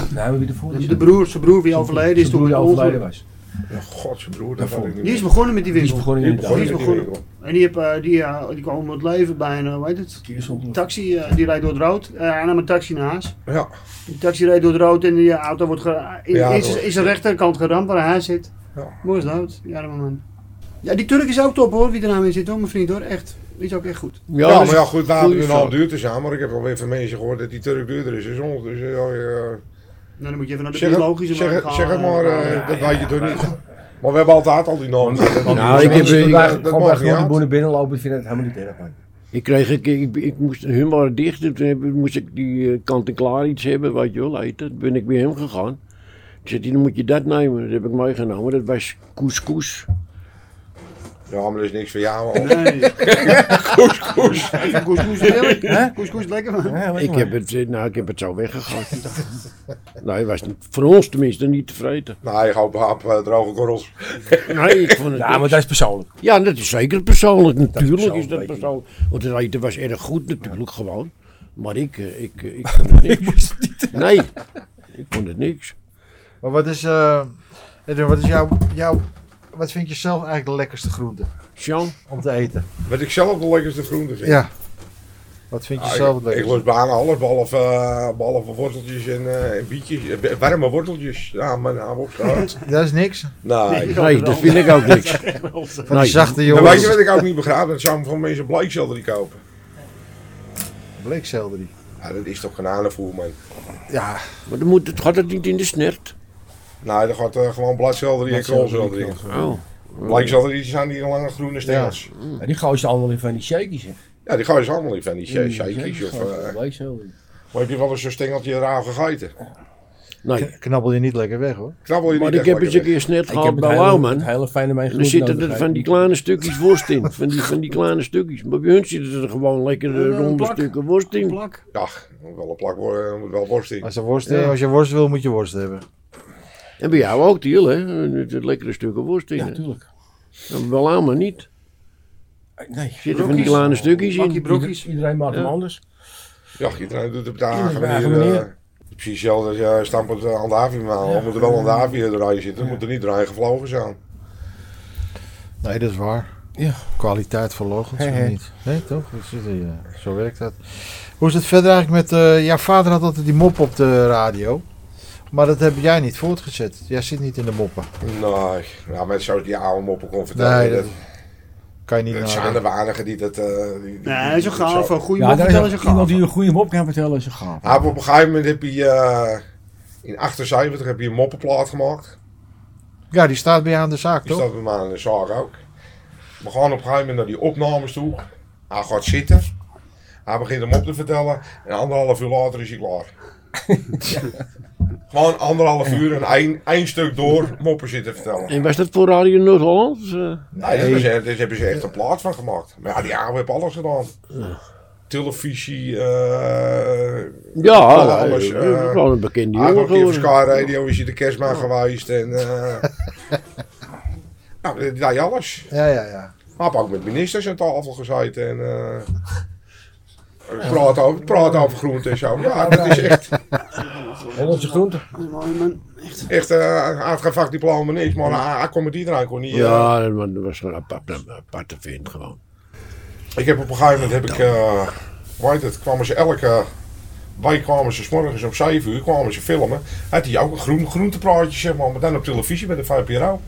nou, wie ervoor is.
De broer, zijn broer die overleden is
Zijn
toen
broer
met
die
een
overleden
ongeluk.
was.
Ja, God, zijn broer, dat had ik niet.
Die is begonnen met die
Die is
winkel.
begonnen
Die
in de
begon
Die is
met die
begonnen.
winkel.
En die, heb, eh, die, eh, die kwam om het leven bij een, hoe heet het?
Nou,
Taxi, eh, die rijdt door het rood. Eh, hij nam een taxi naar huis.
Ja,
Die taxi rijdt door het rood en die auto wordt ge- in,
Ja,
is,
door.
is de rechterkant geramd waar hij zit.
Ja.
Mooi is dat, die arme man. Ja, die Turk is ook top hoor, wie er nou in zit hoor, mijn vriend hoor. Echt, die is ook echt goed.
ja,
dat is
maar ja, goed, daar
goeie
hadden we nou een half
zaak.
duur te zijn, maar ik heb alweer van mensen gehoord dat die Turk duurder is. Dus, ons, dus ja, ja.
Nou, dan moet je even naar de
Zeg,
biologische
het- zeg,
markt
het-
gaan.
zeg het maar,
Eh,
eh, dat weet je toch niet. Maar we hebben altijd al die namen.
Nou, ik heb-
Dat-
ik-
dat- dat
Gewoon bij
mag niet
grote
uit.
boeren binnenlopen, ik vind het helemaal niet erg, man.
Ik kreeg een keer, ik, ik moest, hun waren dicht, en toen heb- moest ik die eh, kant-en-klaar iets hebben, wat je wel eten. Toen ben ik bij hem gegaan. Toen zei hij, dan moet je dat nemen. Dat heb ik meegenomen, dat was couscous.
Ja, maar dat is niks voor jou. man.
Nee. Couscous. Couscous heerlijk. hè? Couscous lekker man.
Ik heb, het, eh, nou, ik heb het zo weggegooid. nou, hij was niet- voor ons tenminste niet tevreden.
Nee, ik hoop hap, eh, droge korrels.
Nee, ik vond het
Ja, maar dat is persoonlijk.
Ja, dat is zeker persoonlijk. Natuurlijk is dat
persoonlijk, weet je.
persoonlijk. Want het eten was erg goed natuurlijk gewoon. Maar ik, eh, ik, eh, ik vond het niks. Nee, ik vond het niks.
Maar wat is, eh, Edwin, wat is jouw, jouw, wat vind je zelf eigenlijk de lekkerste groente
Jean?
om te eten?
Wat ik zelf de lekkerste groente vind.
Wat vind je
Ah,
zelf
ik,
het
ik
lekkerste?
was bijna alles, behalve, eh, behalve worteltjes en, eh, en bietjes. Eh, w- Warme worteltjes. Ja, nou, mijn naam opgehaald.
Dat is niks.
Nee.
Nee, dat vind ik ook niks.
Van
Nee.
die zachte
En weet je
jongens.
wat ik ook niet begrijp? Dat zouden van mensen bleekselder die kopen.
Bleekselderie.
Ja, dat is toch kanalenvoer, man.
Ja,
Maar dan moet het, gaat het niet in de snert.
Nee, dan gaat eh, gewoon bleekselder en krolselder in.
Oh.
Bleekselder die zijn die lange groene stengels. Ja.
Ja, die gooien ze allemaal in van die shakies, hè.
die gooien ze allemaal in van die
In
sh-
die
shakies. Of,
gooien ze
eh,
allemaal, weet je wel.
maar heb je wel eens zo'n stengeltje raar gegeten?
Nee,
knabbel je niet lekker weg hoor.
Knabbel je
maar
niet
ik
echt
heb eens een
lekker
keer snert
Ik heb
gehad
het
bij
hele, het
Lauwman.
hele fijne mijn
Er zitten er van die kleine stukjes worst in. Van die, van die kleine stukjes. Maar bij hun zitten er gewoon lekkere
Een, eh,
ronde
plak.
stukken worst in.
Plak.
weg. Ja, er moet wel een plak worden, er moet wel worst in.
Als je worst,
Ja.
als je worst wil, moet je worst hebben.
En bij jou ook, Tiel, hè? Het- het Lekkere stukken worst in.
Ja,
hè?
natuurlijk.
Nou, Bij Lauwman niet.
Nee.
Zitten van die kleine stukjes
Plakje
in.
brokjes.
Iedereen maakt hem
Ja.
anders.
Ja, iedereen doet het op de eigen
op de eigen
manier. eh,
manier.
precies hetzelfde als je stampend eh, Andavie maar We moeten wel Andavie eruit zitten, we moeten niet eruit gevlogen zijn.
Nee, dat is waar.
Ja.
Kwaliteit verlogen
Hè, hè.
niet. Nee, toch? Dat is het, ja. Zo werkt dat. Hoe is het verder eigenlijk met... eh, jouw vader had altijd die mop op de radio. Maar dat heb jij niet voortgezet. Jij zit niet in de moppen.
Nee, nou, met zoals die oude moppen kon vertellen.
Nee, dat
dat,
kan je niet
het zijn
nadenken.
er weinigen die dat... eh, die- die-
Nee,
die-
zo gaaf.
zo-
Een goede
Ja,
man
daar
vertellen
is
ze
ook iemand
gaaf.
die een goede mop kan vertellen, is een gaaf.
Hij heeft op een gegeven moment heb je... eh, in 78 heb je een moppenplaat gemaakt.
Ja, die staat bij jou aan de zaak,
Die
toch?
staat bij mij in de zaak ook. We gaan op een gegeven moment naar die opnames toe. Hij gaat zitten. Hij begint hem op te vertellen. En anderhalf uur later is hij klaar. Gewoon anderhalf uur en één, één stuk door moppen zitten vertellen.
En was dat voor Radio Noord-Holland? Eh,
Nee, daar hebben ze, daar hebben ze echt een plaat van gemaakt. Maar ja, die oude heeft alles gedaan. Televisie, eh
Ja,
Wel,
eh,
alles,
dat
eh,
is gewoon een bekende
hij heeft ook
jongen
een keer voor
geworden.
Sky Radio is hij de kerstman geweest. En, eh, nou, die deed alles.
Ja, ja, ja.
Hij heeft ook met ministers aan tafel gezeten en eh praat, over, praat over groente en zo. Ja, dat is echt,
Hollandse groenten.
Dat is mooi, man.
echt eh hij heeft geen vakdiploma niks, maar hij, hij kon met iedereen. Kon niet, eh.
Ja, dat was- dat was een aparte, een aparte vent gewoon.
Ik heb op een gegeven moment, heb ik, eh hoe heet het, kwamen ze elke week, kwamen ze 's morgens om 7 uur, kwamen ze filmen. Had hij ook een groen, groentepraatje, zeg maar, maar dan op televisie bij de VPRO.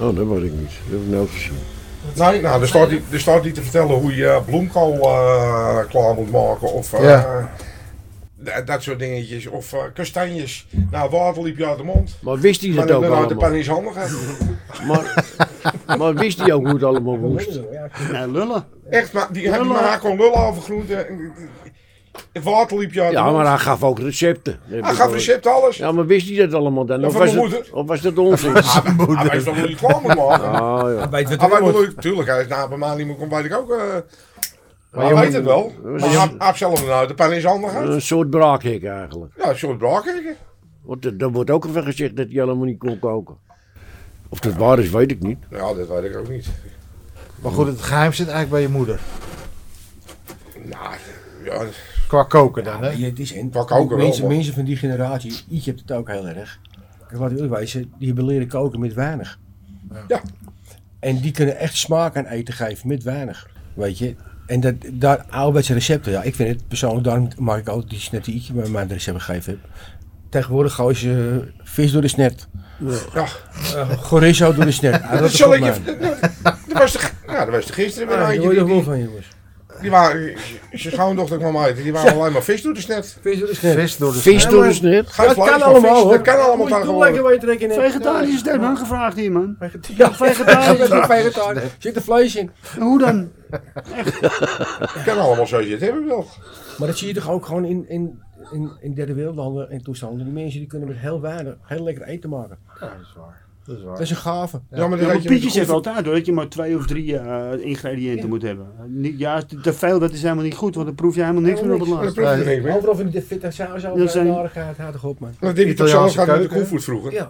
Oh, dat was ik niet. Dat heb ik nooit gezien.
Nee, nou, er staat, niet- er staat niet te vertellen hoe je eh, bloemkool eh, klaar moet maken of eh,
Ja.
d- dat soort dingetjes. Of eh, kastanjes. Nou, water liep je uit de mond.
Maar wist hij
Maar
dat
dan
ook
uit de pan
allemaal?
is handig. hè.
Maar, maar wist hij ook hoe het allemaal moest?
Ja,
Nee, lullen.
Echt, maar die had maar haar kon lullen over groenten. En- en Water liep je uit de
Ja,
mond.
maar hij gaf ook recepten.
Hij gaf recept alles.
Ja, maar wist hij dat allemaal dan?
Ja,
Of
van
was,
mijn
het,
moeder.
of was dat onzin?
Hij wist nog hoe hij klaar moet maken.
Ah, ja.
Weet wat
Hij
hij
weet
moet.
wel hoe- tuurlijk, hij is na een maand niet meer komt, weet ik ook. eh, maar hij
jongen-
weet het wel. Maar
jongen-
hij heeft zelf nou de pijn in zijn handen gehad.
Een soort braakhek eigenlijk.
Ja, een soort braakhek.
Want er, er wordt ook even gezegd dat hij helemaal niet kon koken. Of dat waar is, weet ik niet.
Ja, dat weet ik ook niet.
Maar goed, het geheim zit eigenlijk bij je moeder.
Nou, ja,
Qua koken dan, hè?
Ja, het is en
Pak ook wel,
mensen,
man.
mensen van die generatie, Ietje hebt het ook heel erg. Kijk, laat ik eerlijk wijzen, die hebben leren koken met weinig.
Ja.
En die kunnen echt smaak aan eten geven met weinig. Weet je? En dat, daar ouderwetse recepten, ja, ik vind het persoonlijk, daarom maak ik altijd die snet die Ietje bij mij de recept gegeven heb. Tegenwoordig gooien ze eh, vis door de snet.
Ja.
Eh, Chorizo door de snet. Ah,
dat
is
zal
goed,
ik
man.
je... Dat was de, ja, dat was de gisteren weer
Ah,
een
Daar word je
eindje.
nog wel
Die,
van, jongens.
die waren, zijn schoondochter kwam uit. Die waren alleen maar vis door de snet.
Vis door de snet.
Vis door de
Vis door de snet.
Geen
dat
vlees,
kan
maar
allemaal,
vis.
hoor.
Dat kan allemaal
Moet je doen,
tegenwoordig.
lekker waar je trek in hebt.
Vegetarisch is man gevraagd hier, man.
Ja,
vegetarisch.
vegetarisch. vegetarisch. Zit er vlees in.
Hoe dan?
Dat kan allemaal zo zitten, hebben we wel.
Maar dat zie je toch ook gewoon in, in, in, in derde wereldlanden en toestanden. Die mensen die kunnen met heel weinig, heel lekker eten maken.
Dat is waar. Dat is waar.
Dat is een gave.
Ja, maar
Ja,
dat
maar
weet je met
Pietje
de
zegt altijd hoor, dat je maar twee of drie eh, ingrediënten moet hebben. Niet, ja, te te veel, dat is helemaal niet goed, want dan proef je helemaal niks meer op het
koe- Dat
laatst.
proef je niks meer.
Overal van die fitte saus over
Dat zijn-
narigheid, houd toch op man.
Dat deed je toch zelf
Italiaanse
gaat met de
keuken, hè?
koevoet vroeger.
Ja.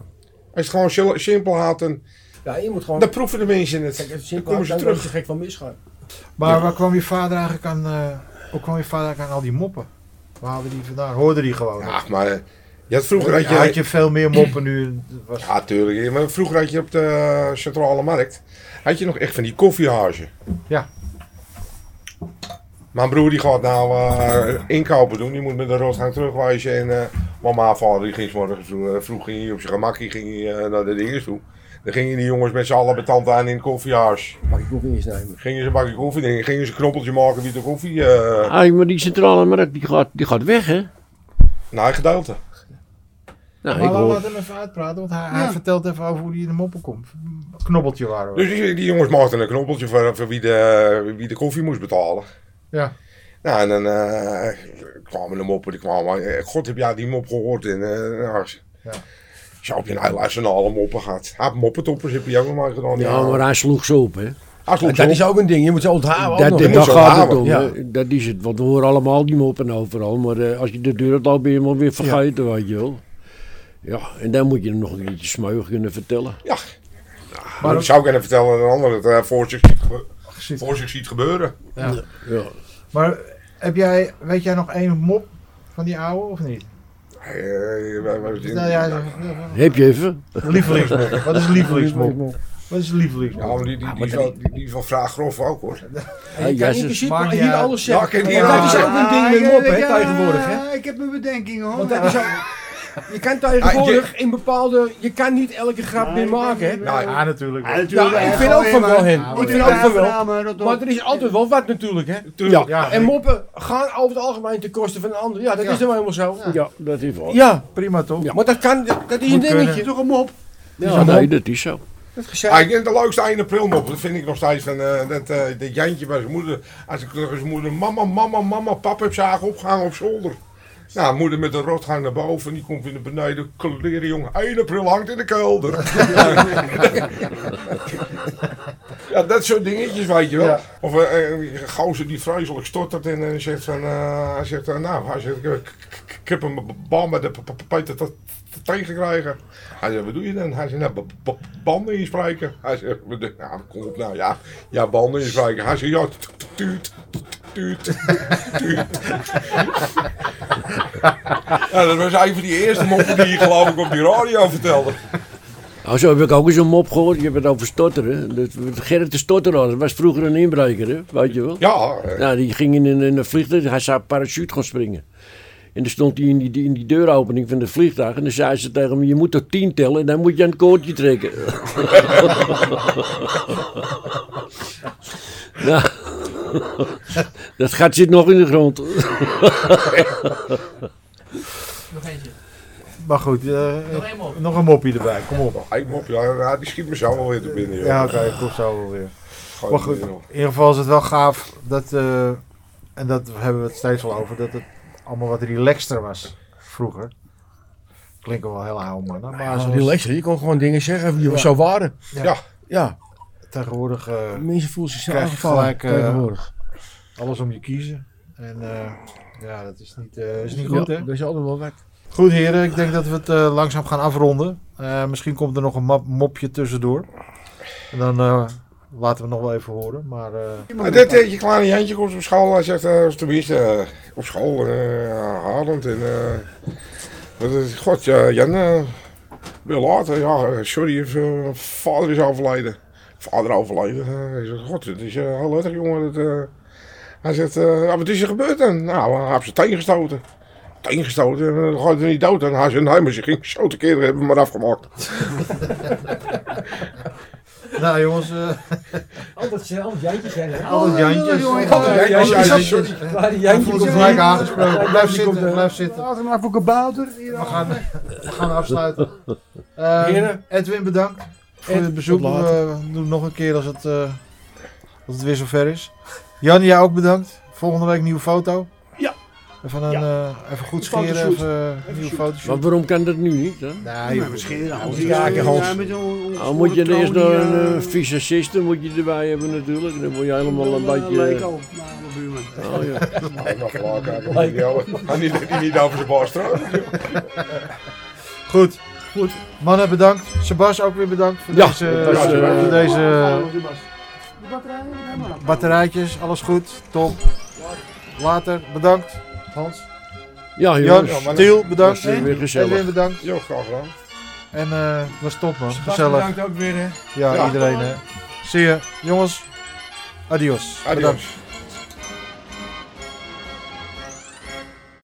Als je het gewoon simpel had, dan,
ja, je moet gewoon...
dan proeven de mensen
Kijk, het
het.
is
Dan
simpel,
komen ze
dan
terug.
kan je gek van misgaan.
Maar waar kwam je vader eigenlijk aan, eh, hoe kwam je vader eigenlijk aan al die moppen? Waar haalde die vandaan? Hoorde die gewoon? Ja,
Ach, maar eh, je had vroeger had je,
had je veel meer moppen nu. Het Was,
ja, tuurlijk. Maar vroeger had je op de centrale markt had je nog echt van die koffiehazen.
Ja.
Mijn broer die gaat nou eh, inkopen doen. Die moet met de rood gaan terugwijzen. En eh, mama en vader die ging 's morgens vroeg, eh, vroeg ging hij op zijn gemakkie ging hij, eh, naar de dingen toe. Dan gingen die jongens met z'n allen met tante aan in het koffiehuis.
Mag ik ook niet eens nemen.
Gingen ze een bakje koffie drinken. Gingen ze een knoppeltje maken wie de koffie... eh,
Hey, maar die centrale markt die gaat, die gaat weg, hè?
Nou, een gedeelte.
Nou, ik
maar laat,
hoor.
laat hem even uitpraten, want hij, hij vertelt even over hoe hij in de moppen komt. Knobbeltje waren we.
Dus die, die jongens maakten een knoppeltje voor, voor wie, de, wie de koffie moest betalen.
ja.
Nou, en dan eh, kwamen de moppen, die kwamen. eh, God, heb jij die mop gehoord? En, eh nou, ik zei,
Ja.
Zo heb je nou een hele arsenaal aan moppen gehad. Hij heeft moppentoppers, heb je ook nog maar gedaan.
Ja, maar hij sloeg ze op, hè?
Hij sloeg
Dat
ze
is
op.
ook een ding, je moet ze onthouden.
Dat,
ook
dit-
nog.
moet ze
daar gaat het
onthouden,
om,
ja.
hè. Dat is het, want we horen allemaal die moppen overal. Maar eh, als je de deur uit loopt, ben je hem alweer vergeten, weet je wel. Ja, en dan moet je hem nog een keertje smeuig kunnen vertellen.
Ja. Maar ik zou kunnen vertellen aan een ander dat hij voor zich ziet, gebe- voor zich ziet gebeuren.
Ja.
Maar heb jij, weet jij nog één mop van die oude of niet?
Eh, wij- wij- wij-
Nou ja, ja,
Heb je even?
lievelingsmop. Wat is lievelingsmop? Wat is
Ja,
lievelingsmop?
maar die, die, die, is wel- die, die is wel vraag grof ook hoor.
En je
Ja,
kan
ze-
in principe
maakt niet
hier
uit.
alles
Ja, ik
zeggen.
ken die
Want dat is
wel.
ook een ding met moppen hè,
Ja,
tegenwoordig. hè.
Ik heb mijn bedenkingen hoor.
Want dat is ook... Je kan
Ah,
tegenwoordig in bepaalde... Je kan niet elke grap meer maken. hè.
Nou,
Ja, natuurlijk. wel.
Ja, ik vind ook van wel hen. Ik vind ook van wel. Maar er
wel.
is altijd wel wat natuurlijk, hè?
tuurlijk.
Ja,
En moppen gaan over het algemeen ten koste van de ander. Ja, dat is nou helemaal zo. Ja,
Ja, dat is waar.
prima toch?
maar dat kan, dat, dat is een
Moet kunnen. Ah,
dingetje. Toch een mop.
Ja, nee, dat is zo.
Dat
Ja,
gezegd.
ik vind de leukste 1 april mop. Dat vind ik nog steeds. Van, eh, dat, eh dat Jantje bij zijn moeder. Als ik tegen zijn moeder. Mama, mama, mama. Pap heb zagen opgehangen op zolder. Nou, moeder met de rotgang naar boven. Die komt weer naar beneden. Kleren jong. 1 april hangt in de kelder. ja, dat soort dingetjes weet je wel.
Ja.
Of eh, eh, een gozer die vreselijk stottert. En eh, zegt van. eh, hij zegt. eh, nou, hij zegt. eh, k- k- Ik heb een b- bal met de p- p- Peter tot- tot tegengekregen. Hij zei, wat doe je dan? Hij zei, nou, b- b- banden inspreken. Hij zei, wat doe- nou, kom op nou, ja, ja, banden inspreken. Hij zei, ja, tu- tu- tuut, tuut, tuut. Ja, dat was een van die eerste moppen die je geloof ik op die radio vertelde.
Nou, zo heb ik ook eens een mop gehoord. Je hebt het over stotteren. Dat- Gerrit de Stotteraar, dat was vroeger een inbreker, hè? weet je wel.
Ja, eh,
Nou, die ging in een, in een vliegtuig, hij zou parachute gaan springen. En dan stond hij in die, in die deuropening van het vliegtuig. En dan zei ze tegen hem, je moet tot tien tellen en dan moet je aan het koordje trekken. nou, dat gat zit nog in de grond.
Nog eentje.
Maar goed, eh,
Nog één mop.
nog een moppie erbij, kom op.
Ik mop, ja, ja, die schiet mezelf wel weer te binnen. joh.
Ja, oké, ik kom zo wel weer.
Gewoon
Maar goed,
niet,
in
Oh, joh.
ieder geval is het wel gaaf dat, eh, en dat hebben we het steeds al over, dat het allemaal wat relaxter was vroeger. Klinken wel heel oude mannen, maar
Ah,
zoals
relaxer. Je kon gewoon dingen zeggen die
Ja.
zo waren.
Ja.
Ja.
Ja,
tegenwoordig eh,
mensen voelen zich zo
Krijg je
aangevallen
gelijk, eh,
tegenwoordig.
alles om je kiezen. En eh, ja, dat is niet, eh, is niet goed,
Ja,
hè?
Er is altijd wel wat.
Goed, heren, ik denk dat we het eh, langzaam gaan afronden. Eh, misschien komt er nog een map- mopje tussendoor. En dan eh, laten we het nog wel even horen, maar... eh,
Maar dit, eh, je kleine Jantje komt op school, hij zegt, eh, of tenminste, eh, op school, eh Harland en... eh, wat is, God, ja, Jan, eh, weer later, ja, eh, sorry, eh, mijn vader is overleden. Vader overleden, eh, ik zeg, god, het is eh, heel erg, jongen, dat... eh." hij zegt, eh, ja, wat is er gebeurd dan? Nou, hij heeft ze tegengestoten. Tegengestoten, en eh, dan gaat hij niet dood. En hij zegt, nee, maar ze ging zo te keren, hebben we maar afgemaakt.
nou jongens, eh
Altijd, altijd jantjes zijn er.
altijd Jantjes.
jongen, ik
ga-
Altijd
Jantjes,
Jantjes.
sorry.
Waar
Hij voelt zich gelijk aangesproken. Blijf zitten, blijf
eh,
zitten.
Laat hem maar voor kabouter. Hier
We gaan, we gaan afsluiten. Eh,
Heren.
Edwin, bedankt voor
Ed,
het bezoek.
tot
We
later.
eh, doen het nog een keer als het, eh, als het weer zover is. Jan, jij ook bedankt. Volgende week nieuwe foto.
Ja.
Even, een, eh, even goed scheren,
fotoshoot.
even eh, een nieuwe foto.
Want waarom kan dat nu niet? Hè?
Nee, joh.
misschien als
Ja, ik Hans.
Dan Ah, moet je eerst nog een eh, fysiciste moet je erbij hebben natuurlijk. Dan word je helemaal een beetje... eh,
Leko, nou, mijn buurman.
Oh, ja.
Hij mag Hij niet, niet over zijn baas trouwen.
Goed. goed. Mannen, bedankt. Sebas, ook weer bedankt voor
Ja,
deze,
dat was, eh,
voor deze
De batterij, helemaal.
batterijtjes. Alles goed. Top. Later. Bedankt. Hans.
ja
Jan,
jongens.
Ja, maar-
Tiel, bedankt.
Dat is weer gezellig.
Edwin, bedankt.
Jo, graag gedaan.
En eh was top man,
Gezellig.
gezellig.
Bedankt ook weer hè.
Ja,
Ja.
iedereen hè. Zie je, jongens. Adios.
Adios.
Bedankt.